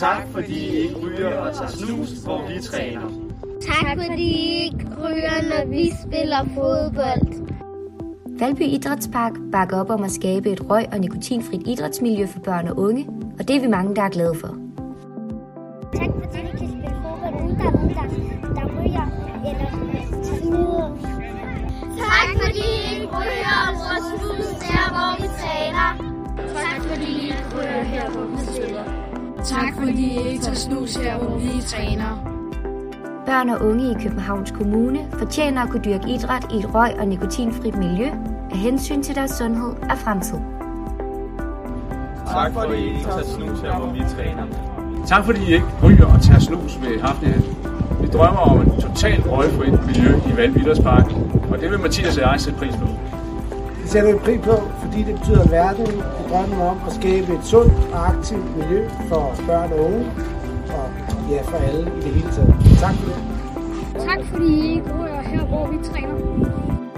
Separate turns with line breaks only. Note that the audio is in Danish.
Tak fordi I ikke ryger og tager snus, hvor vi træner.
Tak fordi I ikke ryger, når vi spiller fodbold.
Valby Idrætspark bakker op om at skabe et røg- og nikotinfrit idrætsmiljø for børn og unge, og det er vi mange, der er glade for.
Tak fordi vi kan spille fodbold uden der er nogen, der, der ryger eller snuder. Tak fordi I ikke ryger og bruger snus der, hvor vi træner. Tak fordi I ikke ryger her, hvor vi spiller.
Tak fordi I ikke tager snus her, hvor vi træner.
Børn og unge i Københavns Kommune fortjener at kunne dyrke idræt i et røg- og nikotinfrit miljø af hensyn til deres sundhed og fremtid.
Tak fordi I ikke tager snus her, hvor vi træner.
Tak fordi I ikke ryger og tager snus ved Hafnihat. Vi drømmer om et totalt røgfrit miljø i Valvidderspark, og det vil Mathias og jeg sætte pris på.
Det sætter vi pris på, fordi det betyder verden i drømmen om at skabe et sundt og aktivt miljø for børn og unge, og ja, for alle i det hele taget. Tak for det.
Tak fordi I ikke bor her, hvor vi træner.